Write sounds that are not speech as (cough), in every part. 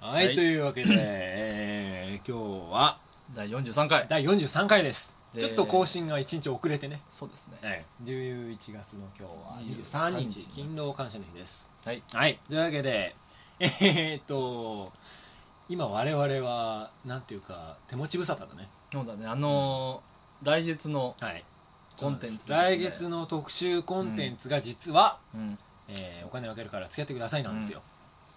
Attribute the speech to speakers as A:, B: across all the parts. A: はい、
B: はい
A: というわけで、えー今日は
B: 第43回
A: 第43回です
B: で
A: ちょっと更新が1日遅れてね、
B: そうですね
A: はい、11月の今日は23
B: 23
A: 日勤労感謝の日です
B: はい
A: はいというわけでえーっと今我々はなんていうか手持ち無沙汰だね
B: そうだねあのー来月の、
A: はい
B: コンテンツですね
A: 来月の特集コンテンツが実は、
B: うん、
A: えーお金をあげるから付き合ってくださいなんですよ、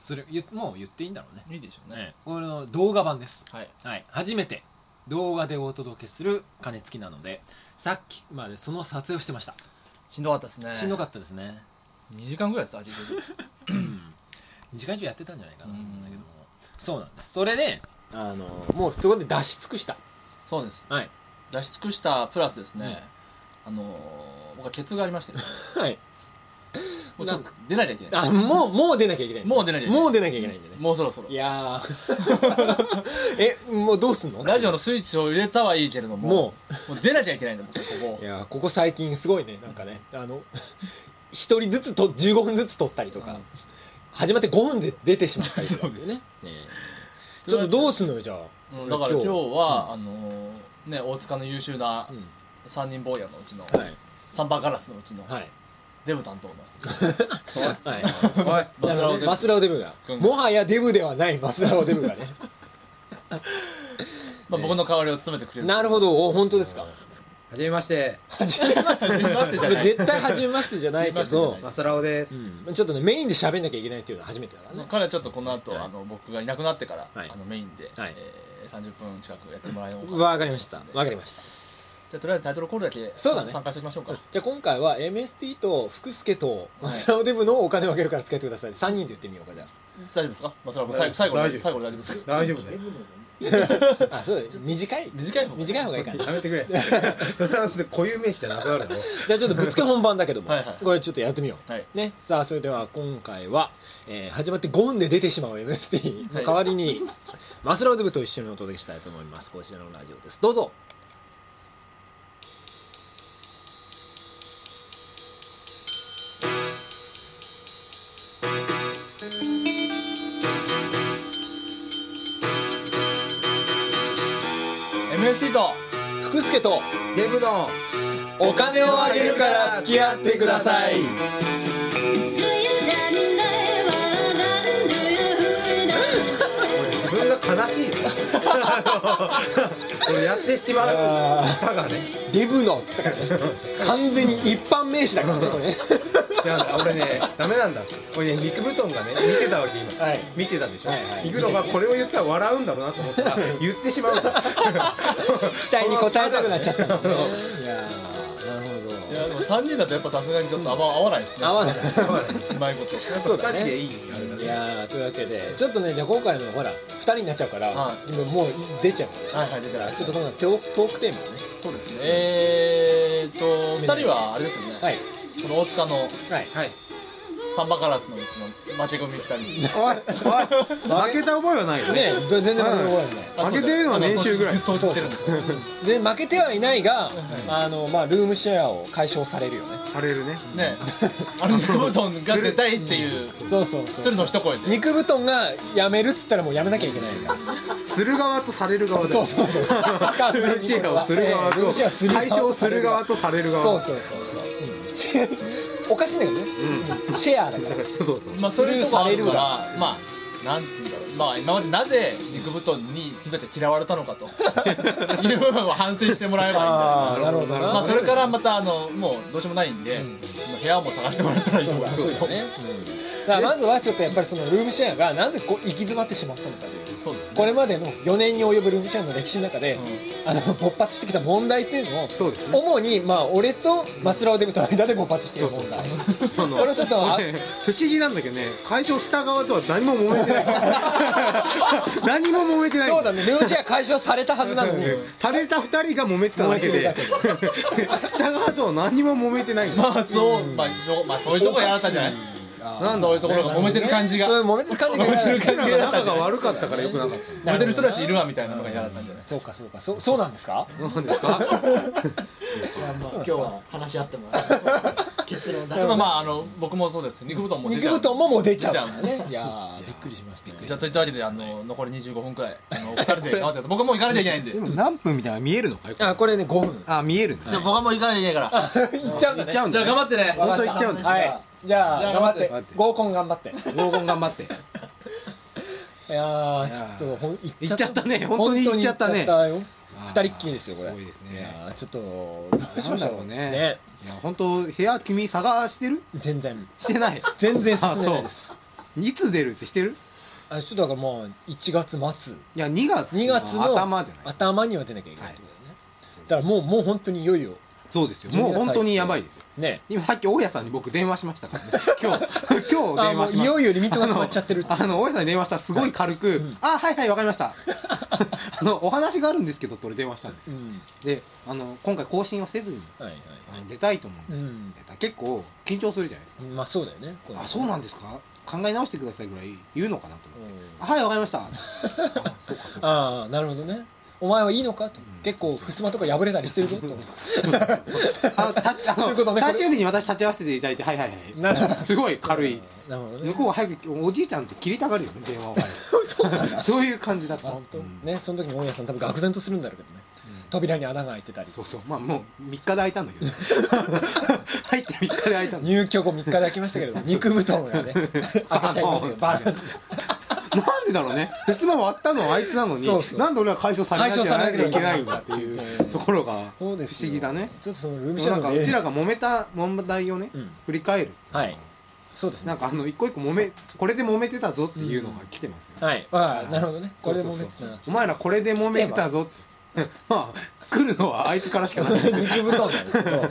A: それ言もう言っていいんだろうね
B: いいでしょうね
A: ねこれの動画版です
B: はい
A: はい、初めて動画でお届けする鐘付きなのでさっきまでその撮影をしてました、
B: しんどかったですね
A: しんどかったですね
B: 2時間ぐらいですあれ結局
A: 2時間以上やってたんじゃないかなと思うんだけども、
B: う
A: そうなんですそれであのもうそこで出し尽くした
B: (laughs) そうです
A: はい
B: 出し尽くしたプラスですね、あのー僕はケツがありま (laughs) して、ね、
A: はい
B: もうちょっと出なきゃいけない
A: あもうもう出なきゃいけない
B: もう出なきゃいけない
A: もう出なきゃいけないんでね、
B: もうそろそろ
A: いやー (laughs) えもうどうすんの
B: ラジオのスイッチを入れたはいいけれども
A: も
B: もう出なきゃいけないんだ僕はここ
A: ういやーここ最近すごいねなんかねあの (laughs) 一人ずつと15分ずつ撮ったりとか、
B: うん
A: 始まって5分で出てしまったりとかっていうねねちょっとどうすんのよじゃあ、
B: うんだから今日は、あのーね大塚の優秀な
A: うん
B: 3人坊やのうちの、
A: はい
B: サンバガラスのうちの、
A: はい
B: デブ担当の
A: はい
B: バ
A: バ
B: ス
A: ス
B: ラ
A: ラ
B: オ
A: オ
B: デ
A: デブ,、
B: ブ
A: がもはやデブではないバスラオデブがね
B: まあ、僕の代わりを務めてくれ
A: (laughs)
B: る
A: なるほどお本当ですか
C: はじめまして、
A: 初めまして
B: 初めましてじゃない
A: (laughs) 絶対初めましてじゃないけ
B: 初めまして
A: ど
B: じゃ
C: マサラオです。
A: うんちょっとねメインで喋んなきゃいけないっていうのは初めてだからね
B: 彼はちょっとこの後、
A: はい
B: あの僕がいなくなってから、
A: はい
B: あのメインで、
A: はい
B: えー30分近くやってもらえようかな
A: わかりましたわかりました
B: じゃあとりあえずタイトルコールだけ
A: そうだね
B: 参加しておきましょうか、
A: じゃあ今回は MST と福助とバスラオデブのお金をあげるから使ってください3人で言ってみようかじゃ
B: 大丈夫ですか松原
C: 大丈
B: 君
C: 夫
B: 最後最後
C: 大丈夫
B: で最後で大丈夫ですか
C: 大丈夫だよ。
A: ああそうだね短い
B: 短い方が
A: 短い方がいいかな
C: やめてくれ。それは固有名詞じゃなくなるの。
A: じゃあちょっとぶっつけ本番だけども、
B: はいはい
A: これちょっとやってみよう。
B: はい
A: ね。さあ、それでは今回は、えー始まって5分で出てしまう MST の代わりに、マスラオデブと一緒にお届けしたいと思います。こちらのラジオです。どうぞ
B: す MST と
A: 福助と
C: デブの
A: お金をあげるから付き合ってくださ (laughs) い
D: Do you damn know what I do? You know.
C: 俺自分が悲しいよ。俺やってしまうさがね。
A: デブのっつったからね。完全に一般名詞だからね、これ
B: (laughs)
A: ね。
C: いや俺ねダメなんだ。俺ね肉布団がね見てたわけ今。
A: はい
C: 見てたでしょ。
A: はいはい
C: 肉布団がこれを言ったら笑うんだろうなと思ったら言ってしまうんだ。
A: 期待に応えたくなっちゃったんだね。いやー、なるほ
B: いやでも3人だとやっぱさすがにちょっとあんま合わないですね
A: ど。合わ
B: な
A: ない。
B: いうまいこと
A: そうだね
C: 二人でいいあれだ
A: い
C: ね。
A: やーというわけでちょっとねじゃあ今回のほら2人になっちゃうから、
B: は
A: 今もう出ちゃうから
B: はいはい出ちゃう
A: ちょっと今度はトークトークテーマをね
B: そうですねえーっと2人はあれですよね、
A: はい
B: その大塚の
A: はい
C: はい。
B: サンバカラスのうちの負け組2人
C: おいおい負けた覚えはないよね。
A: ね全然負けてこないね
C: 負けてるのは年収ぐらい
B: そう言ってるんですよ
A: で負けてはいないが、あのまあルームシェアを解消されるよね
C: 晴れるね。
B: ねあの肉布団が出たいっていう
A: そうそうそう
B: 鶴の一声で
A: 肉布団がやめるっつったらもうやめなきゃいけないんだ
C: する側とされる側だ
A: そうそうそう完
C: ル
A: 全に
C: ームシェアをする側
A: ええルームシェアをす
C: と
A: る側
C: 解消する側とされる側
A: そうそうそうそう、うん (laughs) おかしいんだけどね、シェアだから
C: そうそうそう
B: まあそういうとこあるか
A: スルー
B: らまあなんて言うんだろうまあ今までなぜ肉布団に君たちは嫌われたのか (laughs) という部分を反省してもらえばいいんじゃない
A: ああなるほどな
B: まあそれからまたあのもうどうしようもないんで、部屋も探してもらったらいいと
A: そう
B: 思い
A: だ
B: ます
A: そうだね、だからまずはちょっとやっぱりそのルームシェアがなんでこう行き詰まってしまったのかという
B: (laughs) そうですね
A: これまでの4年に及ぶルームシェアの歴史の中で、
B: う
A: あの勃発してきた問題っていうのを
C: そうですね
A: 主にまあ俺とマスラオデブとの間で勃発している問題
C: あの
A: これをちょっとあ
C: 俺 (laughs) 不思議なんだけどね解消した側とは何も揉めてない (laughs) 何も揉めてない
A: そうだねルームシェア解消されたはずなのに
C: うんされた二人が揉めてただけでした側とは何も揉めてないんだ
B: まあそう、まあそうまあそういうとこやられたんじゃない
C: なんだ
B: そういうところが揉めてる感じが
A: そういう揉めてる感じが
B: 揉めてる
C: うち
B: 感
C: らが仲が悪かったからよくなかった
B: 揉めてる人たちいるわみたいなのがやられたんじゃない
A: そうかそうかそうそうなんですか
C: (laughs) なんですか
E: 今日は話し合ってもらう結論だ
B: まあまああの僕もそうですけど肉布団も出ち
A: 肉
B: ゃう
A: 布団ももう出ちゃう
B: 出ちゃう
A: からねいやーびっくりしましたね
B: じゃあといったわけであの残り25分くらいあのお二人で頑張ってください僕はもう行かなきゃいけないんで
C: でも何分みたいなの見えるのかよ
A: あこれね5分
C: あ見えるね
B: でも僕はもう行かなきゃいけないか
A: (laughs)
B: ら
A: いっちゃうんだ
C: いっ
A: ね
C: ちゃうん
B: じゃあ
C: だね
B: 頑張ってね
C: 本当いっちゃうんだ
E: は
A: はいいじゃあ
B: じゃあ
A: 頑張っ
C: 頑張ってて
A: 合コン頑張って
C: 黄金頑張って
A: いやーちょっとほんい
C: いっちゃったね本当にいっちゃった
A: よ
C: ねあー
A: 二人っきりですよこれ
C: すごいですね
A: いやーちょっとどうしましょう
C: なんだろうねいや本当部屋君探してる
A: 全然
C: してない
A: 全然進めないです
C: (laughs) いつ出るってしてる
A: あちょっとだからもう1月末
C: いや2月
A: 2月の
C: 頭じゃない
A: 頭には出なきゃいけないってことだよねだからもうもう本当にいよいよ
C: そうですよもう本当にやばいですよ
A: ね
C: 今さっき大家さんに僕電話しまし
A: (laughs)
C: たからね今日今日
A: あ
C: 電
A: も
C: 話
A: う
C: し
A: い
C: ま
A: よ
C: し
A: いよリミット
C: た
A: が決まっちゃってるって
C: あのあの大家さんに電話したらすごい軽く「あはいはいわかりました」 (laughs) あの「お話があるんですけど」って俺電話したんです
A: う
C: よ
A: ん
C: であの今回更新をせずに
A: はいはい
C: あの出たいと思うん
A: う
C: ですよ
A: ん
C: だから結構緊張するじゃないですか
A: まあそうだよね
C: あそうなん
A: す
C: ですか考え直してくださいぐらい言うのかなと思ってあはいわかりましたあそうかそ
A: (laughs)
C: うか
A: ああなるほどねお前はいいのかと結構襖とか破れたりしてる
C: (laughs)
A: ぞと
C: あたあ
A: とい
C: の
A: うことね
C: 最終日に私立て合わせていただいてはいはいは
A: なるほど
C: いすごい軽い
A: なるほどね
C: 向こうは早くおじいちゃんって切りたがるよね電話を
A: そうか
C: (laughs) そういう感じだった
A: あ本当
C: うん
A: ねその時に大家さん多分愕然とするんだろうけどね扉に穴が開いてたり
C: そうそうまあもう3日で開いたんだけど入って3日で開い (laughs) たんだ
A: 入居後3日で開きましたけ
C: (laughs)
A: ど肉布団がね開けちゃいましたけどバージョン
C: なんでだろうねふすま割ったのはあいつなのに
A: そうそう
C: なんで俺は解消されなきゃ
A: 解消されなきゃ
C: いけないんだっていうところが不
A: そう
C: 思
A: ですよ
C: 議だね
A: ちょっとそのルームシェ
C: な
A: ア
C: ん
A: の
C: か
A: 例
C: うちらが揉めた問題をね
A: うん
C: 振り返る
A: はいそうですね
C: なんかあの一個一個揉めこれで揉めてたぞっていうのが来てますね
A: はいああなるほどねこれも
C: そ
A: めっ
C: うそ
A: ち
C: うそう
A: ゃ
C: お前らこれで揉めてたぞ (laughs) まあ来るのはあいつからしか (laughs) ない
A: 肉布団なんですけど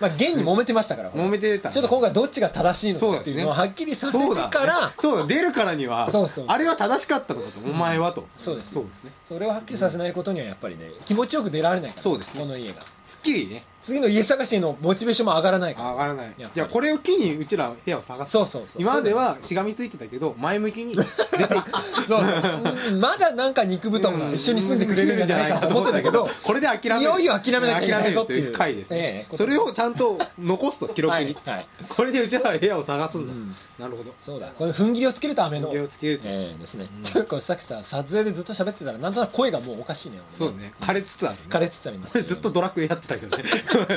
A: まあ現に揉めてましたから
C: 揉めてた
A: ちょっと今回どっちが正しいのかっていうのを
C: そうですね
A: はっきりさせてから
C: そうだね,そうだ、出るからには
A: そうそう
C: あれは正しかったのかと、お前はと
A: そうです
C: そうですね
A: それをはっきりさせないことにはやっぱりね気持ちよく出られないから
C: そうですね
A: この家が
C: すっきりね
A: 次の家探しのモチベーションも上がらない
C: 上
A: か
C: がらない
A: やっぱり
C: じゃあこれを機にうちら部屋を探
A: ら
C: す
A: そうそうそう
C: 今まではしがみついてたけど前向
A: (laughs)
C: きに出ていく
A: そううんまだなんか肉布団が一緒に住んでくれるんじゃないかと思ってたけど
C: これで諦める
A: いよいよ諦めなきゃいけないぞっていう
C: 諦めると回です
A: え
C: ね
A: え
C: それをちゃんと残すと記録
A: はい
C: に
A: はい
C: これでうちらは部屋を探すんだ、
A: うん
C: なるほど
A: そうだこれ踏ん切りをつけるための
C: 気をつけると、
A: ええですねちょっとこれさっきさ撮影でずっと喋ってたらなんとなく声がもうおかしいね俺
C: そうね枯れつつあるね
A: 枯れてたります
C: こ (laughs) れずっとドラクエやってたけどね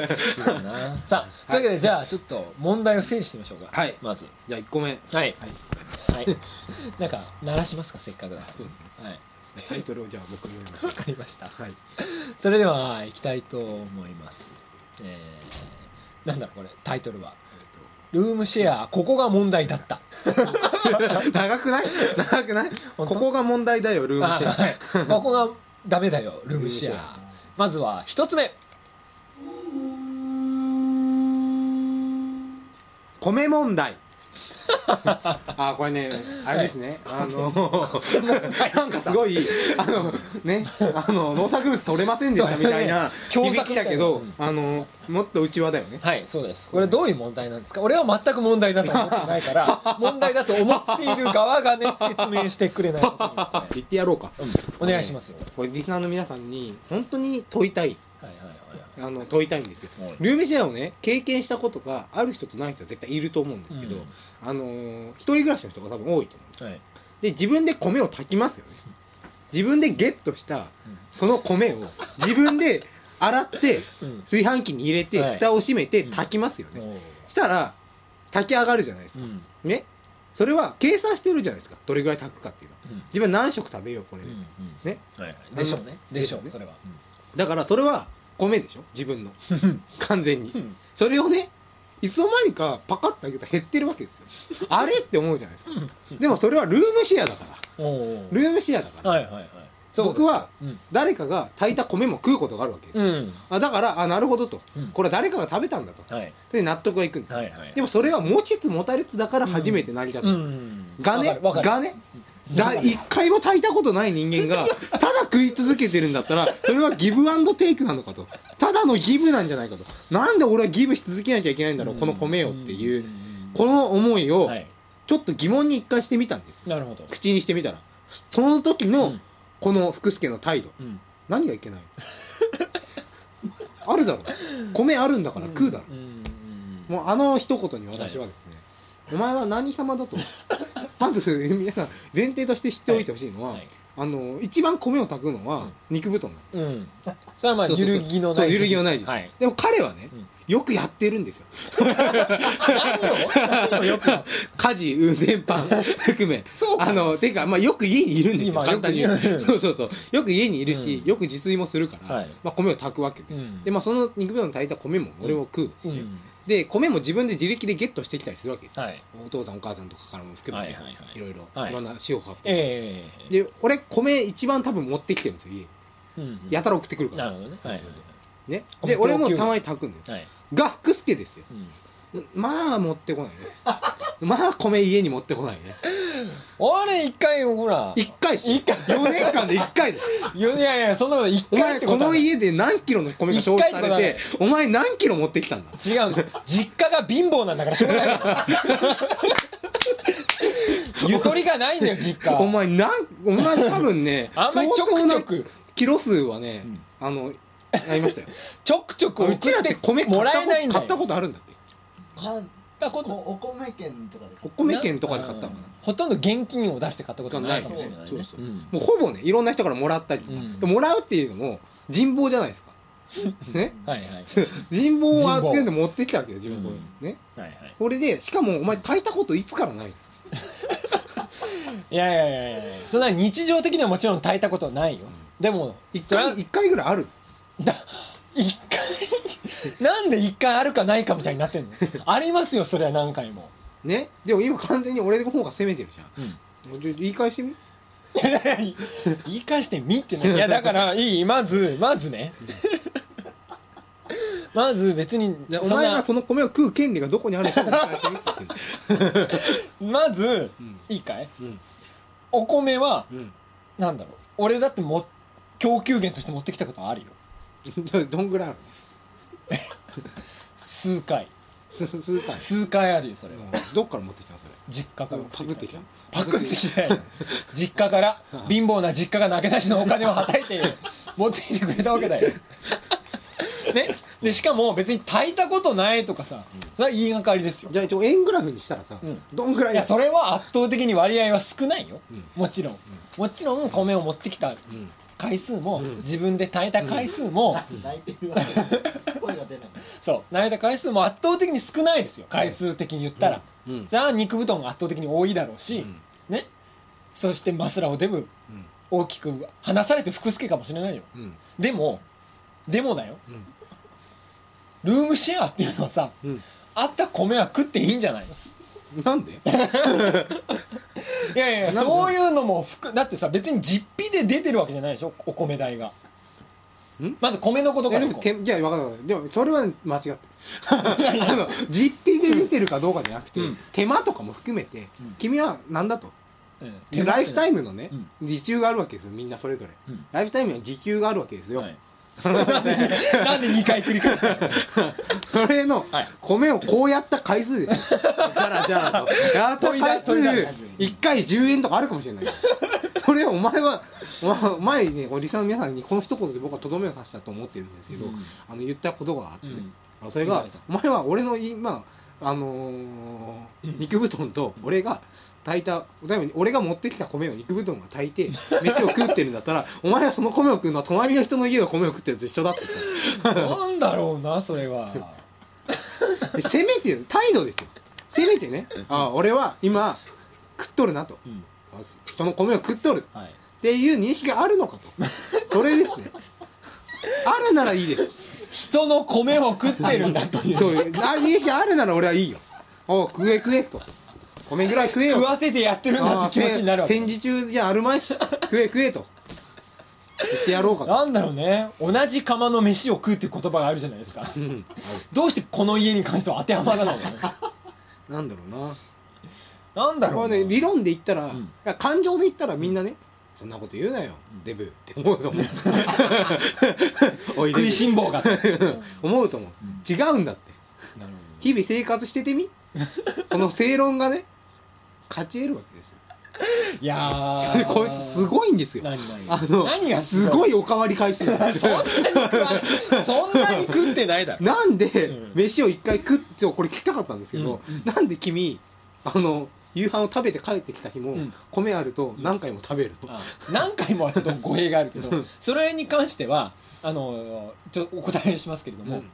C: (laughs)
A: なさあというわけでじゃあちょっと問題を整理してみましょうか
C: はい
A: まず
C: じゃあ1個目
A: はい
C: はい
A: はい (laughs) なんか鳴らしますかせっかくだから
C: そうですね
A: はい
C: タイトルをじゃあ僕に読みましょ
A: わ
C: う
A: かりました
C: はい
A: それでは行きたいと思いますえー、なんだろうこれタイトルは「ルームシェアここが問題だった」
C: (laughs) 長くない長くない
A: 当
C: ここが問題だよルームシェア
A: あはいここがダメだよルームシェ
C: ルーム
A: アまずは一つ目
C: 米
A: (laughs)
C: 問題あこれねあれですね、あ
A: (laughs)
C: のなんかすごいあのねあの農作物取れませんでしたみたいな
A: そうね凶作
C: 響きだけど、
A: み
C: あのもっと内輪だよね
A: はいそうですこれどういう問題なんですか俺は全く問題だと思ってないから (laughs) 問題だと思っている側がね説明してくれないことにはね
C: 言ってやろうか、
A: お願いしますよ
C: これリスナーの皆さんに本当に問いたい
A: はいはいはい
C: あの問いたいんですよ
A: はい
C: ルームシェアをね経験したことがある人とない人は絶対いると思うんですけど、
A: うん
C: あのー一人暮らしの人が多分多いと思うんですよ
A: はい
C: で自分で米を炊きますよね自分でゲットしたその米を自分で洗って
A: うん
C: 炊飯器に入れて
A: はい
C: 蓋を閉めて炊きますよね、したら炊き上がるじゃないです
A: う
C: か、
A: ん
C: ねそれは計算してるじゃないですかどれぐらい炊くかっていうのは
A: うん
C: 自分は何食食べようこれ
A: う
C: で、
A: ん
C: ね
A: はいはいでしょうねでしょう
C: でし
A: それは
C: だからそれは米でしょ自分の完全に、
A: うん
C: それをねいつの間にかパカッと開けたら減ってるわけですよあれって思うじゃないですかでもそれはルームシェアだから
A: おお
C: ルームシェアだから、
A: はいはいはいそうです
C: 僕は
A: うん
C: 誰かが炊いた米も食うことがあるわけです、
A: うん
C: あだからあなるほどと、
A: うん
C: これは誰かが食べたんだと
A: はい
C: で納得がいくんですよ、
A: はいはい
C: でもそれは持ちつ持たれつだから初めて成り立つ、
A: うん
C: がね
A: わかるわか
C: がねだ一回も炊いたことない人間
A: (laughs)
C: がただ食い続けてるんだったらそれはギブアンドテイクなのかとただのギブなんじゃないかとなんで俺はギブし続けなきゃいけないんだろう、
A: る
C: この米をっていう、
A: ん
C: この思いを
A: はい
C: ちょっと疑問に一回してみたんです
A: なるほど
C: 口にしてみたらその時の、
A: うん
C: この福助の態度
A: うん
C: 何がいけないあるだろ米あるんだから食うだろ、
A: うんうんうん
C: もうあの一言に私はですね、お前は何様だとまず皆さん前提として知っておいてほしいのは、
A: はい
C: あの一番米を炊くのは肉布団なんです、
A: うんさあまあ
C: そうそう
A: 揺
C: そう
A: るぎのない
C: そう揺るぎのない時期
A: はい
C: でも彼はね、
A: うん
C: よくやってるんですよ
B: 何をよく
C: 家事運全般含め
A: そうか
C: (laughs) あのていうか、まあ、よく家にいるんですよ
A: 今
C: 簡単に
A: よ
C: 言
A: く
C: う
A: 家にいる
C: (laughs) そうそうそうよく家にいるし、
A: うん
C: よく自炊もするから、
A: はい
C: まあ、米を炊くわけです、
A: うん
C: で、まあ、その肉布団に炊いた米も俺を食うし、
A: うん
C: で米も自分で自力でゲットしてきたりするわけですよ、
A: はい
C: お父さんお母さんとかからも含めて、
A: はいはいはい
C: ろいろ、
A: はい
C: い、ろんな塩を発
A: ええ
C: で俺米一番多分持ってきてるんですよ家に
A: うん
C: やたら送ってくるから
A: なるほどねはいはい
C: ね、
A: 米
C: で
A: 供給
C: 俺もたまに炊くんだよ
A: はいはい
C: が福助ですよ
A: うん
C: まあ持って
A: (laughs)
C: こないねまあ米家に持ってこないね
A: あれ一回ほら
C: 一回し
A: 一回
C: 4年間で一回で
A: いやいやいやそんなこと一
C: お
A: 回っ
C: 前
A: てこ
C: こと
A: は
C: の
A: ない
C: 家で何キロの米が消費され
A: 一回って
C: お前何キロ持ってきたんだ
A: 違うの実家が貧乏なんだからしょうがない
C: (laughs)
A: よゆとりがないんだよ実家
C: お前なんお前多分ね
A: (laughs) あんまりちょくちょ
C: 相当な
A: く
C: キロ数はね、
A: うん
C: あのやりまし
A: (laughs)
C: たよ
A: ちょくちょく
C: うちらって米買
A: も
C: っ
A: ら
C: た
A: えないん
C: こ
A: だ
C: 買っ
A: よ
C: たことあるんだって
A: 買ったこ
E: お
A: と
E: お米券とかで買
C: お
E: っ
C: 米券とかで買ったのかな
A: うんほとんど現金を出して買ったことないかもしれないね
C: そうそう
A: うん
C: もうほぼねいろんな人からもらったりとか、
A: うん
C: でもらうっていうのも人望じゃないで
A: (laughs)
C: すかね
A: はいはい
C: 人望を集めて持ってきたわけよ自分
A: う
C: の
A: ん
C: ね
A: はいはい
C: これでしかもお前炊いたこといつからない
A: いやいやいやいやそんな日常的にはもちろん炊いたことはないよでも
C: 一
A: それは
C: 回一回ぐらいある
A: だ一回なんで一回あるかないかみたいになってんのありますよそれは何回も (laughs)
C: ねでも今完全に俺の方が攻めてるじゃ
A: うん
C: んもうちょっと言い返してみ
A: いやいやい言い返してみってないいやだからいいまずまずね (laughs) まず別に
C: でお
A: そん
C: 前
A: な
C: がその米を食う権利がどこにあるか言い返してみって言ってんだよ
A: まず
C: うん
A: いいかい
C: うん
A: お米は
C: うん
A: なんだろう俺だっても供給源として持ってきたことあるよ
C: どどんぐらいある
A: 数回
C: すす数回
A: 数回あるよそれは
C: どっから持ってきたのそれ
A: 実家から
C: パクってきた
A: パクってきたよ実家から貧乏な実家が投げ出しのお金をはたいて持ってきてくれたわけだよ (laughs) ねでしかも別に炊いたことないとかさそれは言いがかりですよ
C: じゃあ一応円グラフにしたらさ、
A: うん
C: どんぐらい
A: いやそれは圧倒的に割合は少ないよ、
C: うん
A: もちろん、もちろん米を持ってきた
C: うん
A: 回数も、
C: うん
A: 自分で炊いた回数も、
E: て泣いてるわ
C: (laughs)
E: け声が出ない
A: そう泣いた回数も圧倒的に少ないですよ回数的に言ったら、
C: うん
A: じゃあ肉布団が圧倒的に多いだろうし、
C: うん
A: ねそしてマスラをデブ
C: うん
A: 大きく離されて福助かもしれないよ
C: うん
A: でもでもだよ
C: うん
A: ルームシェアっていうのはさ
C: うん
A: あった米は食っていいんじゃないの
C: なんで
A: いやいや
C: なんで
A: そういうのも含だってさ別に実費で出てるわけじゃないでしょお米代が
C: ん
A: まず米のことか
C: え
A: ら
C: で
A: いこ
C: も
A: う
C: てじゃあ分かった分かったでもそれは間違 (laughs) ってるあの実費で出てるかどうかじゃなくて、
A: うん
C: 手間とかも含めて、
A: うん
C: 君は何だと
A: うん
C: ライフタイムのね、
A: うん
C: 時給があるわけですよみんなそれぞれ、
A: うん
C: ライフタイムには時給があるわけですよ、
A: はい (laughs) なんで2回繰り返したの
C: それの
A: はい
C: 米をこうやった回数ですよじゃらじゃらとやった回数
A: 問いだ問いだ
C: 1回10円とかあるかもしれないそれをお前はお前前にねこうリスナーの皆さんにこの一言で僕はとどめを刺したと思ってるんですけど、
A: うん
C: あの言ったことがあってね、
A: うん
C: あそれ
A: 言
C: が
A: わ
C: お前は俺の今あのー肉布団と俺が炊いた例えば俺が持ってきた米を肉布団が炊い
A: (laughs)
C: て飯を食ってるんだったらお前はその米を食うのは隣の人の家の米を食ってるや
A: (laughs)
C: つ一緒だって言っ
A: なんだろうなそれは
C: たでせめて態度ですよせめてねあ俺は今食っとるなと
A: うん
C: 人の米を食っとる
A: はい
C: っていう認識があるのかとそれですねあるならいいです
A: 人の米を食ってるんだという
C: そういうあ認識あるなら俺はいいよおう食え食えと米ぐらい食えよ
A: 食わせてやってるんだ
C: あ
A: っ
C: あ
A: て気持ちになるわけ
C: 戦時中じゃあるま
A: (laughs)
C: いし食え食えと言ってやろうかと、
A: なんだろうね同じ釜の飯を食うって言葉があるじゃない
C: (laughs)
A: ですか
C: うん、
A: どうしてこの家に関しては当てはまらないの
C: なんだろうな
A: なんだろ
C: こ
A: う
C: れね
A: ね
C: 理論で言ったら、
A: ん
C: いや感情で言ったらみんなね、そんなこと言うなよ、デブって思うと
A: (laughs)
C: 思うお
A: 食
C: いデブ
A: いしん坊
C: (laughs)
A: が
C: 思うと思う、違うんだって日々生活しててみこの正論がね勝ち得るわけですよ
A: いやー
C: それこいつすごいんですよ
A: 何何
C: あの
A: 何が
C: す
A: す
C: ご
A: ごい
C: いおかわり回数
A: (laughs)
C: なんです
A: そん
C: よ
A: なに食わそんなに食ってない
C: (laughs)
A: だろ
C: なんで
A: うん
C: 飯を一回食ってこれ聞きたかったんですけど、なんで君あの夕飯を食べて帰ってきた日も、
A: うん
C: 米あると何回も食べるの、
A: あ何回もはちょっと語弊があるけどそれに関してはあのちょっとお答えしますけれども、
C: うん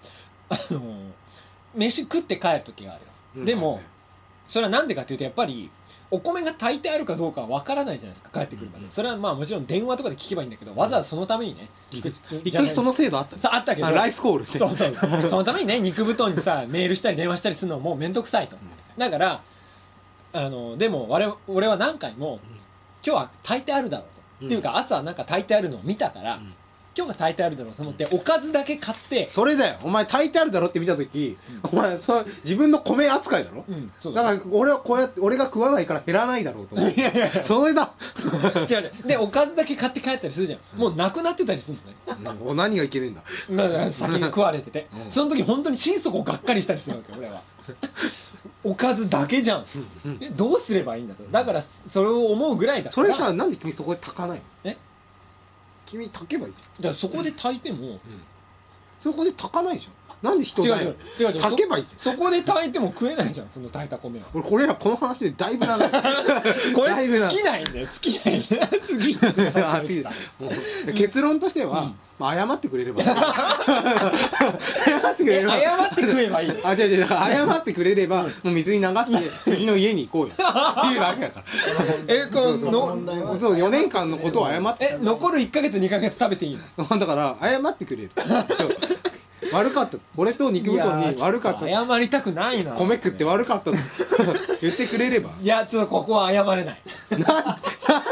A: あの飯食って帰る時があるよ
C: うん
A: でもそれはなんでかというとやっぱりお米が炊いてあるかどうかは分からないじゃないですか帰ってくるまで、それはまあもちろん電話とかで聞けばいいんだけどわざわざそのためにね聞く
C: 一時その制度あったんです
A: さあったけど
C: あライスコールって
A: そうそうそのためにね肉布団にさメールしたり電話したりするのも面倒くさいとだからあのでも我々俺は何回も今日は炊いてあるだろうと、
C: うん
A: っていうか朝なんか炊いてあるのを見たから、
C: うん
A: 今日は炊いてあるだろうと思っておかずだけ買って、
C: それだよお前炊いてあるだろって見た時、お前それ自分の米扱いだろ、
A: うん、そう
C: だ
A: だ
C: から俺はこうやって俺が食わないから減らないだろうと思う
A: いやいや
C: それだ
A: (laughs) 違う違うでおかずだけ買って帰ったりするじゃん、もうなくなってたりするのね
C: なんかお何がいけねえんだ
A: まあ先に食われてて、
C: うん
A: その時本当に心底がっかりしたりするわけ俺
C: (laughs)
A: はおかずだけじゃん、
C: うん
A: えどうすればいいんだとだからそれを思うぐらいだか
C: そ
A: ら
C: れさなんで君そこで炊かないの
A: え
C: 君炊けばいいじゃ
A: だから
C: ん
A: そこで炊いても、
C: そこで炊かないじゃんなんで人
A: 違う
C: ない
A: 違
C: の
A: う違う違う
C: 炊けばいいじゃん
A: そそこで炊いても食えないじゃんその炊いた米は
C: 俺これら (laughs) この話でだいぶ長い
A: これ
C: (laughs) だいぶ
A: 尽
C: 長い
A: きないんだよ尽きないん
C: (laughs)
A: だよ次行ってください
C: あ (laughs) 次だもう (laughs) 結論としては、まあ、謝ってくれれ (laughs) ば謝ってくれ
A: え
C: れば
A: 謝って食えばいいの
C: あ、違う違う、だから謝ってくれれば、もう水に流して、次の家に行こうよ。 (laughs) っていうわけだから。
A: えこ
C: (laughs) そうそう
A: の
E: 問題は
C: そう、4年間のことを謝って、
A: え残る1か月2か月食べていいの
C: だから、謝ってくれる。そう。悪かった。俺と肉布団に悪かった
A: い。やー謝りたくないな
C: 米食って悪かったと言ってくれれば。
A: いやちょっとここは謝れない
C: な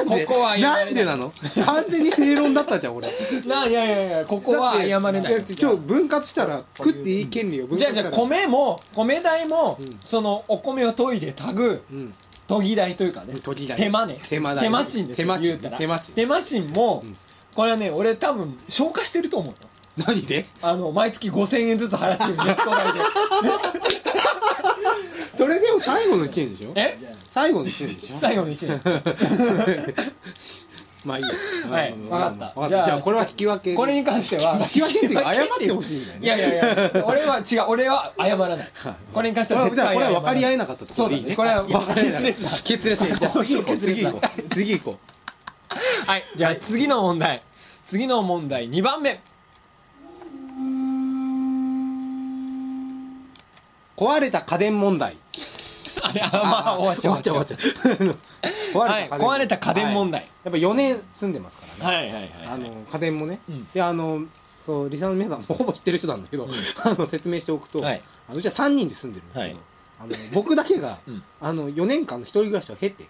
C: んで
A: ここは謝れな
C: ないんでなの完全に正論だったじゃん、俺。
A: ないやいやいやここは謝れない
C: だって今日分割したら、食っていい権利を分
A: じゃ
C: 割
A: あ
C: し
A: じゃあ
C: たら。
A: 米も米代も、
C: うん
A: そのお米を研いでたぐ
C: うん。
A: 研ぎ代というかね
C: 研ぎ代
A: 手間ね
C: 手間代
A: 手間賃ですよ
C: 手間賃
A: 言うたら
C: 手間賃
A: も、
C: うん
A: これはね俺多分消化してると思うよ
C: 何で
A: あの毎月5000円ずつ払ってるネット代で
C: それでも最後の1年でしょ (laughs)
A: え
C: 最後の1年でしょ
A: 最後の1年
C: まあいいよ。
A: はい
C: うん
A: わかった
C: わかっ
A: じゃ
C: た。
A: あ
C: じゃあこれは引き分け。
A: これに関しては
C: 引き分けっていうか謝ってほしいんだよ
A: い
C: ね。
A: やいやいや俺は違う俺は謝らないこれに関しては
C: こ
A: 絶
C: れは
A: 対
C: これは
A: 謝ら
C: 分かり合
A: ない
C: えなかったとこ
A: そうだ
C: ろでいい
A: ね
C: ね。
A: これは
C: 分かり合えなかっ
A: 決裂だ
C: た。 (laughs) 決裂でいこう。次行こう。次行こう。次行こ
A: はいじゃあ次の問題次の問題2番目
C: う。壊れた家電問題。
A: あれあまあ終わっちゃう
C: 終わっちゃう。終わっちゃう (laughs)
A: はい壊れた家電問題
C: はいやっぱ4年住んでますからね。
A: はいはいはい
C: あの家電もね
A: うん。
C: であのそうリサの皆さんもほぼ知ってる人なんだけど、 (laughs) あの説明しておくと、
A: はい
C: あのうちは3人で住んでるんですけど
A: は、
C: あの僕だけが
A: うん
C: あの4年間の一人暮らしを経て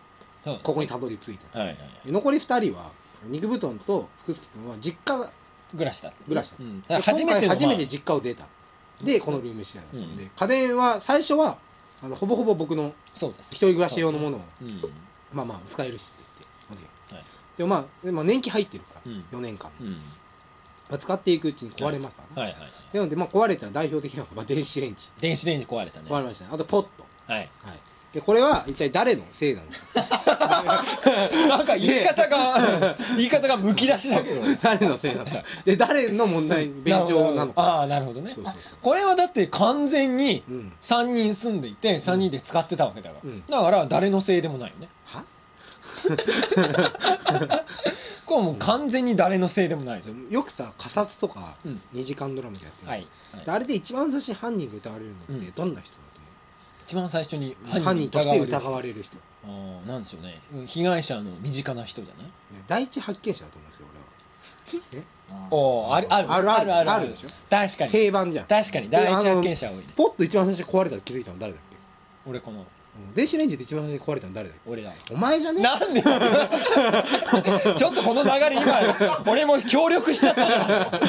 A: そう
C: ここにたどり着いた。
A: はいはい
C: 残り2人は肉布団と福助君は実家
A: 暮らしたって
C: 暮らした
A: うんだから
C: で
A: 初めて
C: 今回
A: の
C: 初
A: まあ
C: めて実家を出たでこのルームシェアだったので、
A: う
C: 家電は最初はあのほぼほぼ僕の
A: そうです
C: 一人暮らし用のものを
A: うん
C: まあまあ使えるしって言って
A: はい
C: でもまあでも年季入ってるから、
A: うん
C: 4年間、
A: うん
C: まあ使っていくうちに壊れますからね、
A: はいはいはい
C: なのでまあ壊れた代表的なのがまあ電子レンジ
A: 電子レンジ壊れたね
C: 壊れましたねあとポット
A: はい
C: はいでこれは一体誰のせ
A: (laughs)
C: いなのか
A: なんか言い方が (laughs) 言い方がむき出しだけど
C: 誰のせいなのかで誰の問題弁償なのか
A: ああなるほどね
C: そうそうそ
A: これはだって完全に
C: ううん
A: 3人住んでいて3人で使ってたわけだから、
C: うん
A: だから誰のせいでもないよね
C: は
A: これはもう完全に誰のせいでもないです、
C: よくさ仮殺とか
A: うん
C: 2時間ドラマでやってる、
A: はい、はい
C: であれで一番最初に犯人が疑われるのっ
A: う
C: て
A: ん
C: どんな人だ
A: 一番最初に
C: と思う、犯人として疑わ
A: れる
C: れる人ね
A: あーなんでしょうね被害者の身近な人じゃない
C: 第一発見者だと思うんですよ
A: (laughs) おーあるある
C: あるある
A: ある
C: あるでしょ
A: 確か
C: 俺は
A: に
C: 定番じゃん
A: 確かに第一発見者多いね
C: ポッと一番最初に壊れたって気づいたの誰だっけ
A: 俺この
C: うん電子レンジで一番最初に壊れたの誰だっ
A: 俺だわ
C: けお前じゃね
A: なんで (laughs) ちょっとこの流れ今俺も協力しちゃったから (laughs)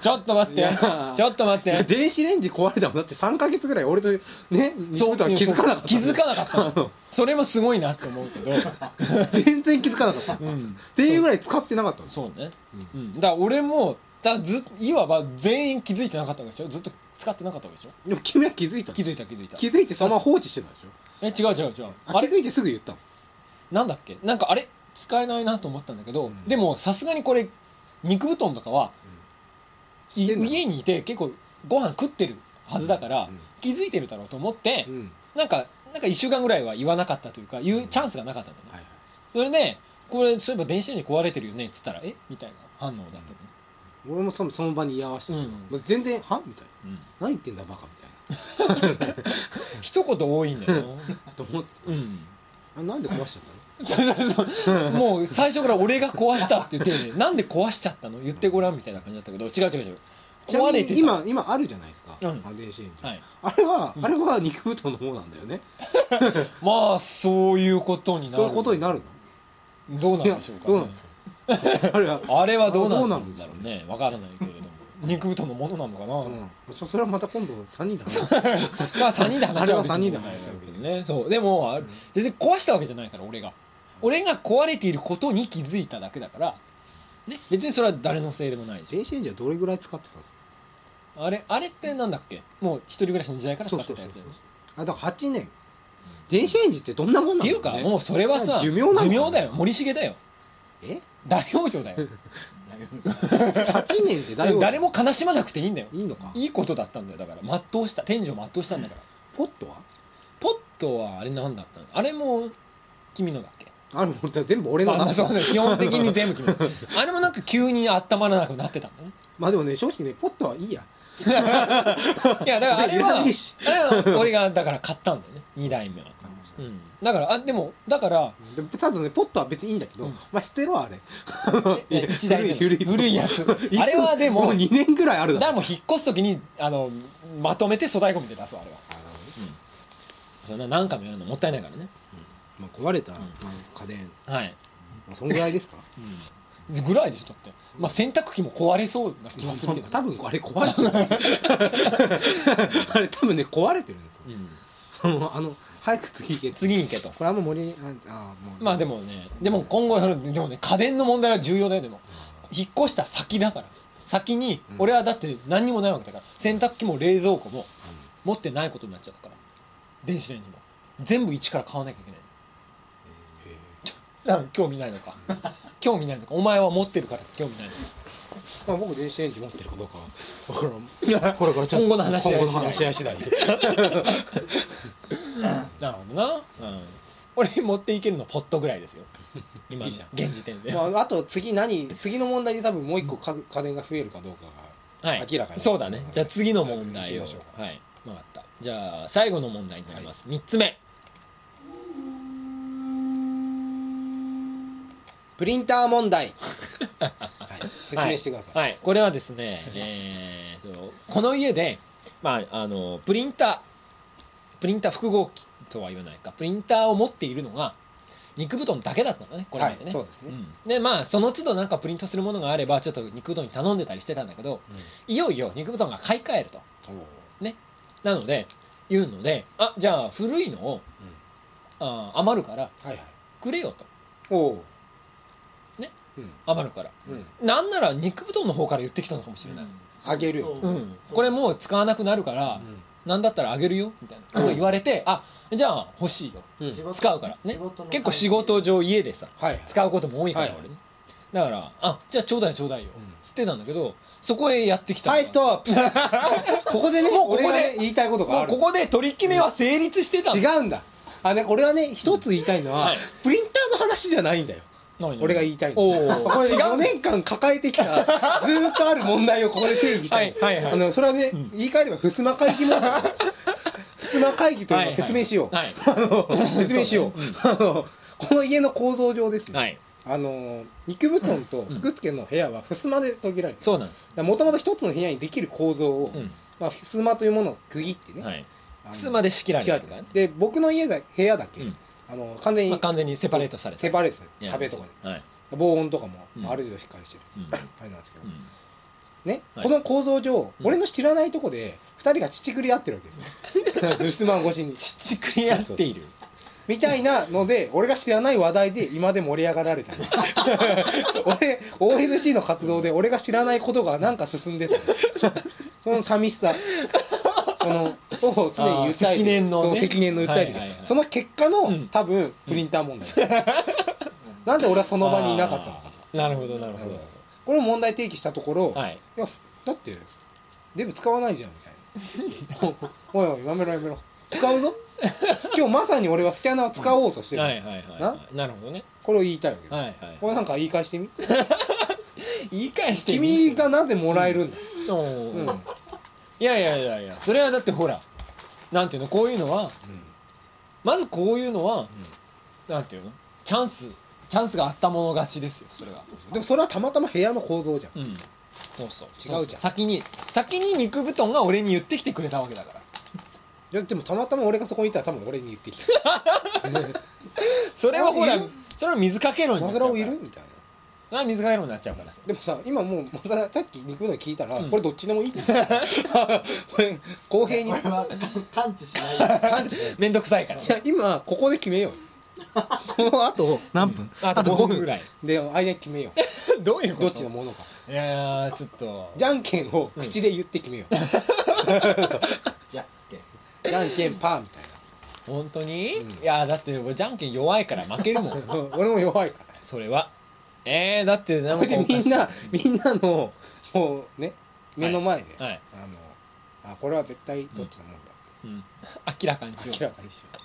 A: ちょっと待ってちょっと待っ
C: いや
A: て
C: 電子レンジ壊れたもんだって3か月ぐらい俺とねそうとは気づかなかった
A: 気づかなかったのそれもすごいなって思うけど、
C: 全然気づかなかったっ
A: うん、
C: ていうぐらい使ってなかったんですよ
A: そうね、うん、だから俺もだからずいわば全員気づいてなかったわけでしょずっと使ってなかったわけでしょ
C: でも君は気づいたの
A: 気づいた気づいた
C: 気づいてそのまま放置してたでしょ
A: え違う違う違うあ
C: あ気
A: れ
C: づいてすぐ言ったの
A: なんだっけなんかあれ使えないなと思ったんだけど、でもさすがにこれ肉布団とかは、い
C: てんだ
A: 家にいて結構ご飯食ってるはずだから、
C: うん
A: 気づいてるだろうと思って、
C: うん
A: なんかなんか1週間ぐらいは言わなかったというか言うチャンスがなかったんだね、
C: はいはい
A: それでこれそういえば電子レンジ壊れてるよねっつったらえみたいな反応だったのね
C: 俺も多分その場に居合わせた、
A: うん
C: もう全然「は?」みたいな
B: うん
C: 「何言ってんだバカ」みたい
A: 一言多いんだよ
C: なと思って
A: うん
C: あなんで壊しちゃったの
A: もう最初から俺が壊したっていう手でなんで壊しちゃったの言ってごらんみたいな感じだったけど違う違う違う
C: ちな
A: 壊
C: み
A: れて
C: に
A: た
C: 今今あるじゃないですか、
A: うん
C: あの電子レンジ、
A: はい
C: あれは、
A: うん
C: あれは肉布団の方なんだよね
A: まあそういうことになる
C: そういうことになる
A: どうな
C: の
A: んでしょうか、
C: いやどうなんですか (laughs) あれは
A: あれはど
C: ど
A: う
C: う
A: な
C: なんんで
A: だ
C: しょ
A: ろ
C: う
A: うねわからないけれども肉布団のものなのかな、
C: うん、そそれはまた今度3人で話す
A: まあ3人で話し合う
C: あれは3人で話し合う
A: けどねそうでもあ別に壊したわけじゃないから俺が俺が壊れていることに気づいただけだから、ね、別にそれは誰のせいでもないし
C: 電子レンジはどれぐらい使ってたんですか
A: あれあれってなんだっけもう一人暮らしの時代から使ってたやつだよね
C: あだから8年電子レンジってどんなも
A: っ
C: んな
A: てい
C: んだ
A: う
C: ろ
A: か
C: う、ね、
A: もうそれはさ
C: 寿命なのかな
A: だよ森重だよ
C: え
A: 大往生
C: (laughs)
A: だよ
C: 8年ってだいぶ
A: 誰も悲しまなくていいんだよ
C: いいのか
A: いいことだったんだよだから全うした天井を全うしたんだから
C: ポットは
A: ポットはあれなんだったのあれも君のだっけ
C: あれ俺だ全部俺の
A: まあまあ
C: 話
A: そうだよ基本的に全部君のあれもなんか急に温まらなくなってたんだね
C: まあでもね正直ねポットはいいや
A: いやだからあれは
C: (laughs) 俺いらねえし
A: あれは俺がだから買ったんだよね2代目は、うん、だからあでもだから
C: でただねポットは別にいいんだけど、
A: うん
C: まあ捨てろあれいや
A: 1代目の
C: 古い古い
A: 古いやつ
C: いつ
A: あれはでも
C: もう2年ぐらいある
A: だか
C: だ
A: らも
C: ろ
A: う引っ越す時にあのまとめて粗大ゴミで出すわあれは
C: あの
A: そんな何回もやるのもったいないからね
C: まあ、壊れた、まあ、家電、
A: はい、
C: まあ、そんぐらいですか
A: ぐらいでしょだって、まあ、洗濯機も壊れそうな気
C: ま
A: が
C: あ
A: す
C: そ
A: る
C: ん
A: けど、
C: 多分あれ壊れて
A: (laughs)
C: るあれ多分ね壊れてるんです
A: うん、
C: よあの早く次行け
A: 次に行けと
C: これはもう森にああもう
A: まあでもねでも今後やるでもね家電の問題は重要だよでも引っ越した先だから先に
C: うん
A: 俺はだって何にもないわけだから洗濯機も冷蔵庫も持ってないことになっちゃうから電子レンジも全部一から買わなきゃいけない
C: へ
A: なんか (laughs) 興味ないのか興味ないのかお前は持ってるからって興味ないのか
C: まあ、僕電子レンジ持ってるかど
A: (laughs)
C: うかは分からんこれからちょっと
A: 今後の話し合い
C: 今後の話し合い次第で
A: (laughs) なるほどな、うん、俺持っていけるのポットぐらいです
C: (laughs)
A: よ今の
C: いいじゃん
A: 現時点で、
C: まあ、あと次何次の問題で多分もう一個家家電が増えるかどうかが
A: はい、
C: 明らかに
A: そうだねじゃあ次の問題を
C: 行きましょう
A: はい分かったじゃあ最後の問題になります、三3つ目
C: プリンター問題、はい、説明してください、
A: はい、これはですね、えーそうこの家で、まあ、あのプリンタープリンター複合機とは言わないかプリンターを持っているのが肉布団だけだったのねこれまでね、
C: はいそうですね
A: うんでまあその都度なんかプリントするものがあればちょっと肉布団に頼んでたりしてたんだけど、いよいよ肉布団が買い替えるとなので言うのであじゃあ古いのを、
C: うん
A: あー余るから
C: はいはい
A: くれよと
C: おお
A: ね
C: うん
A: 余るから
C: うん
A: なんなら肉布団の方から言ってきたのかもしれない、
C: あげるよ
A: うんこれもう使わなくなるから、なんだったらあげるよみたいなこと言われて、あじゃあ欲しいよ
C: うん
E: 仕事
A: 使うからね
E: 仕事の
A: 結構仕事上家でさ
C: はいはい
A: 使うことも多いから
C: はい
A: 俺ねだからあじゃあちょうだいちょうだいよ、
C: うん
A: つってたんだけどそこへやってきたの
C: は
A: が
C: いストップ
A: (laughs)
C: ここでね
A: もうここで
C: 俺がね言いたいことが
A: も
C: あ
A: う
C: る
A: ここで取り決めは成立してたの
C: 違うんだあね俺はね一つ言いたいのは、
A: はい
C: プリンターの話じゃないんだよ
A: 何
C: 俺が言いたいの
A: お
C: こ
A: お
C: れ
A: 違
C: ね4
A: う
C: 年間抱えてきたずーっとある問題をここで定義したの、
A: はいはいはい
C: あのそれはね、言い換えればふすま会議
A: (laughs)
C: 問題ふすま会議というのを説明しよう、
A: はい
C: 説明しようあのこの家の構造上ですね、
A: はい
C: あの肉布団と福助の部屋は襖で区切られて
A: そうなんです
C: もともと一つの部屋にできる構造を、
A: うん
C: まあ、襖というものを区切ってね、
A: はい
C: あの
A: 靴まで仕切られてる
C: 仕
A: か
C: 切ら
A: ら
C: れ
A: ね
C: てるで僕の家だ部屋だけ、
A: うん
C: あの完全に、
A: まあ完全にセパレートされて
C: セパレートされ
A: い
C: て
A: や
C: 壁とか
A: はい
C: で防音とかも、
A: うん
C: ある程度しっかりしてる
A: うん
C: あれなんですけど、
A: うん
C: ね、
A: はい
C: この構造上、
A: うん
C: 俺の知らないとこで2人が乳繰り合ってるわけ
A: (laughs)
C: ですよ (laughs) 襖越しに
A: ちくり合っている
C: みたいなので俺が知らない話題で今で盛り上がられたの俺 ONC の活動で俺が知らないことがなんか進んでたこの寂しさこのを常に訴え
A: あー積
C: て
A: 年のね
C: そ積年の訴えてる、
A: はいはいはい
C: その結果の、
A: うん
C: 多分プリンター
A: (laughs)
C: 問題、なんで俺はその場にいなかったのか
A: あーなるほどなるほ
C: これを問題提起したところ、
A: どはい
C: いやだってデブ使わないじゃんみたい
A: (laughs)
C: なおいおいやめろやめろ使うぞ今日まさに俺はスキャナーを使おうとしてる、
A: はいはいはいはいなるほどね
C: これを言いたいわけ
A: はい
C: よ
A: はい
C: これなんか言い返してみ
A: 言い返してみ
C: 君がなんでもらえるんだ、
A: そう
C: うん
A: いやいやいやいやそれはだってほらなんていうのこういうのはまずこういうのは、なんていうのチャンスチャンスがあったもの勝ちですよそれは
C: でもそれはたまたま部屋の構造じゃ
A: う
C: ん
A: んそうそう
C: 違うじゃん
A: 先に先に肉布団が俺に言ってきてくれたわけだから
C: いやでもたまたま俺がそこにいたら多分俺に言ってき
A: それはほら
C: あいる
A: それは水かけろ
C: た「
A: にな
C: マ
A: っち
C: ズ
A: ゃうか
C: ラ
A: ら
C: オいる?」みたいな
A: あ水かけろになっちゃうからさ
C: でもさ今もうマズラさっき肉の聞いたら、
A: うん
C: これどっちでもいいって言ってた
A: (laughs)
C: (laughs) これ公平に
E: これは感知しない
C: 感じ
A: めんどくさいから
C: いや今ここで決
A: (laughs)
C: めようよこのあと何分、
A: あと5分ぐらい
C: で間に決めよ
A: (laughs) どういう
C: う
A: こと
C: どっちのものか
A: いやーちょっと
C: じゃんけんを口で言って決めよう、
E: じゃんけん
C: じゃんけんパーみたい
A: 本当に、
C: うん
A: いやーだって俺じゃんけん弱いから負ける (laughs) もん
C: な (laughs) 俺も弱いか
A: (laughs) それはえー、だってな
C: ら
A: ん
C: これ
A: か
C: で
A: おか
C: み
A: しい
C: んなみんなのもうね目の前で、
A: はい、
C: あのあこれは絶対どっちのもんだ、
A: うん、明らかにしよ
C: 明らかにしよう
A: う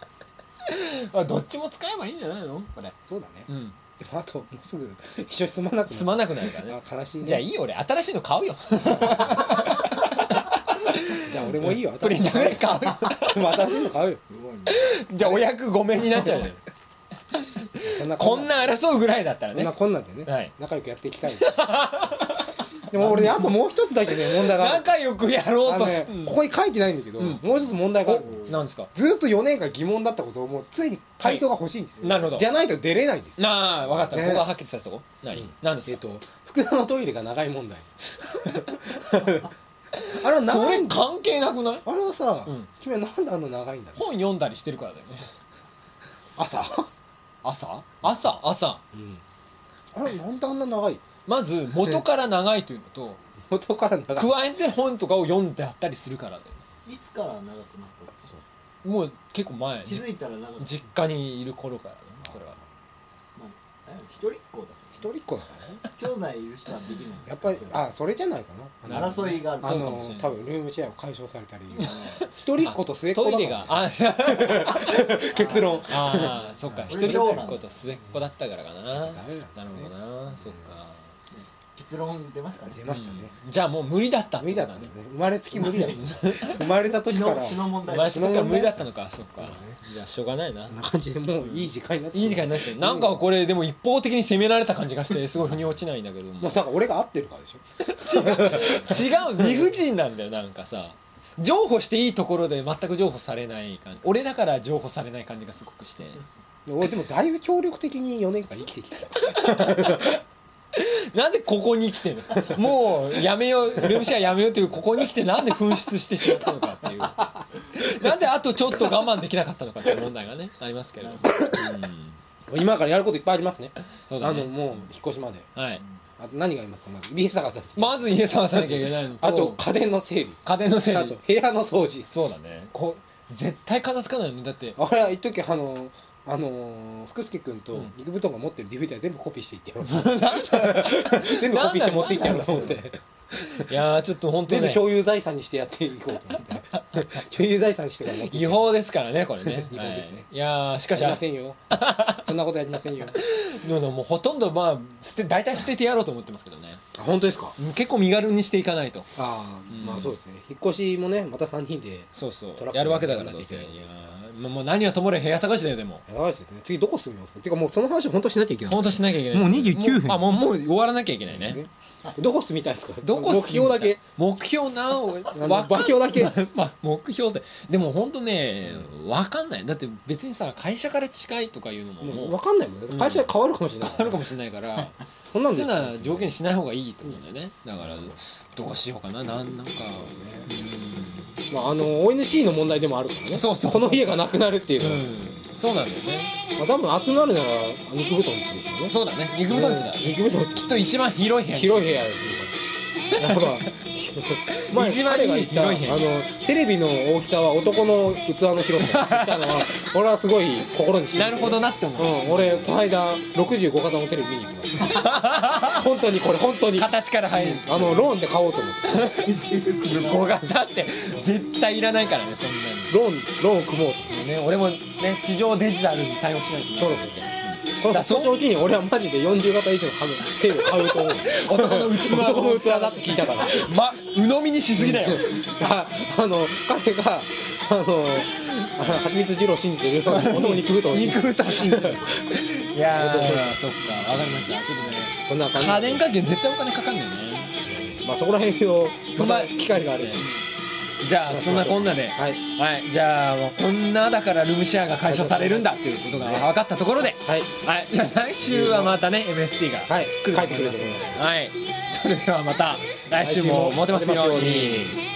A: あどっちも使えばいいんじゃないのこれ
C: そうだね、
A: うん
C: でもあともうすぐ一緒に住まなくな
A: すまなくなるからね
C: あ悲しいね
A: じゃあいいよ俺新しいの買う (laughs) よ
C: じゃあ俺もいいよ
A: プリンターぐらい買う
C: でも新しいの買うよ
E: すごいね
A: じゃあお役御免になっちゃうよ
C: こん
A: (laughs)
C: な
A: こんな争うぐらいだったら
C: こん
A: ね
C: なこんなんでね、
A: はい
C: 仲良くやっていきたいですでも俺ねあともう一つだけね問題がある
A: 仲良くやろ
C: あ
A: うと
C: のね
A: し、
C: ここに書いてないんだけど、
A: うん
C: もう一つ問題がある
A: おなんですか
C: ずっと4年間疑問だったことをもうついに回答が欲しいんですよ、
A: なるほど
C: じゃないと出れないんですよ
A: なあ分かった、
C: ね
A: ここははっきりさせとこう何、
C: うん
A: 何です
C: えっ
A: か
C: と福田のトイレが長い問題 (laughs) あれは
A: そ
C: 長い
A: れ
C: んだ
A: 関係なくない
C: あれはさ、
A: うん
C: 君はなんであんな長いんだろう
A: 本読んだりしてるからだよね
C: 朝、
A: 朝朝朝
C: あれなんであんな長い
A: まず元から長いというのと
C: 元から長い
A: 加えて本とかを読んであったりするからだよね
E: いつから長くなったの
A: もう結構前
E: 気づいたら長くなった
A: 実家にいる頃からねそれは
E: まあ一人っ子だ
C: 一人っ子だからね
E: 兄弟いる人はできない
C: やっぱりあそれじゃないかなあの
E: 争いがある
C: あ
A: そうかもし
C: の
A: れない
C: 多分ルームシェアを解消されたり一人っ子と末っ子
A: ト
C: だ
A: イ
C: から
A: レがあ
C: 結論
A: あーそっか
E: 俺
A: 一人っ子と末っ子だったからかな
C: ダメだ
A: なるほどなそっか
E: 結論出ましたね
C: 出ましたね、
A: うんじゃあもう無理だった
C: 無理だったんだね生まれつき無 (laughs) 理だった生まれた
E: 血
C: 時から
E: の
C: こ
E: 血の問
A: 生
E: 題
A: まれつきから無理だったのかそっかじゃあしょうがないなん
C: な感じでもういい時間になってき
A: い
C: た
A: い時間になっちゃうなんかこれでも一方的に責められた感じがしてすごい腑に落ちないんだけども
C: まあだから俺が合ってるからで (laughs) しょ
A: 違う理不尽なんだよなんかさ譲歩していいところで全く譲歩されない感じ俺だから譲歩されない感じがすごくして
C: で俺でもだいぶ協力的に4年間生きてきた
A: なんでここに来てんのもうやめようルームシェアやめようというここに来てなんで紛失してしまったのかっていうなんであとちょっと我慢できなかったのかっていう問題がねありますけれども、うん、
C: 今からやることいっぱいありますね
A: そうだ
C: あ
A: ね
C: のもう引っ越しまで
A: はい、
C: あと何がありますかまず家 (laughs) 探さず
A: まず家探さなきゃいけないの
C: あと家電の整理
A: 家電の整
C: (laughs) あ
A: 理
C: と部屋の掃除
A: そうだねこう絶対片付かないよねだって
C: 俺は一時あのあの福助君と
A: うん
C: 肉布団が持ってる DVD は全部コピーして
A: (laughs)
C: いってやろう全部コピーして持っていってやろうと思って
A: いや (laughs) ーちょっと本当
C: 全
A: に、
C: 部
A: ね、
C: 共有財産にしてやっていこうと思って
A: (laughs)
C: 共有財産にしてから持ってい
A: 違法ですからねこれ (laughs) ね
C: 違法ですね
A: はい、いやーしかし
C: やりませんよそんなことやりませんよ
A: でももうほとんどまあ捨て大体捨ててやろうと思ってますけどね
C: あ本当ですか
A: うん結構身軽にしていかないと
C: ああ、
A: うん
C: まあそうですね引っ越しもねまた3人で
A: そうそう
C: トラック
A: やるわけだから
C: に
A: ど
C: 乗
A: う
C: って
A: せ
C: い
A: い
C: け
A: や
C: ない
A: ーもう何はともれ部屋探しだよでも
C: やばいですね次どこ住みますかっていうかもうその話を本当しなきゃいけない
A: 本当しなきゃいけない
C: もう29分
A: もうあもうもう終わらなきゃいけないね
C: どこ住みたいですか
A: どこ
C: 目標だけ
A: 目標なお
C: あの
A: わか
C: 場所だけ
A: (laughs) まあ目標ででも本当ね分かんないだって別にさ会社から近いとかいうのも
C: も
A: も
C: う
A: う
C: 分かんないもんね
A: うん
C: 会社変わるかもしれない、
A: あるかもしれないから
C: そんなん
A: そうい
C: で
A: うのは条件にしない方がいいってことだよねだからどうしようかななんなんか
C: まあ、あの ONC の問題でもあるからね
A: そうそう
C: この家がなくなるっていう
A: う
C: のは、
A: んそうなんだよね
C: まあ、多分集まるなら肉布団地ですよね
A: そうだね肉布団地だ
C: うん肉布団地
A: きっと一番広い部屋
C: 広い部屋ですよやっぱ前
A: 一番いい
C: 彼が言ったあ
A: 広い
C: の
A: 部屋
C: テレビの大きさは男の器の広さって言ったのは俺はすごい心にし
A: なるほどなって思う
C: うん、俺この間65型のテレビ見に行きまし
A: (laughs)
C: た本当にこれ本当にあ
A: 形から入る
C: のローンで買おうと思って
A: 5型って絶対いらないからねそんな
C: ローンローン組もうと
A: にね俺もね地上デジタルに対応しないと
C: そうですよこの
A: だそう
C: その時に俺はマジで40型以上の家具テレビを買うと思う
A: (laughs) 男の器
C: (laughs) 男の器だって聞いた
A: (laughs)
C: から
A: ま鵜呑みにしすぎだよ
C: ああの彼があのあの蜂蜜二郎を信じてるように男肉豚を信じて
A: 肉
C: る
A: 歌を信じる (laughs) いやーそっかわかりましたちょっとね
C: そんな感じ
A: 家電関係絶対お金かかんないね
C: まあそこら辺をまた機会がある
A: じゃあそんなこんなで
C: はい
A: はいじゃあもうこんなだからルームシェアが解消されるんだっていうことが分かったところで
C: はい
A: はいじゃあ来週はまたね MST が
C: はい
A: 来ると思います
C: 帰ってくると思いま
A: はいそれではまた来週もモテますように。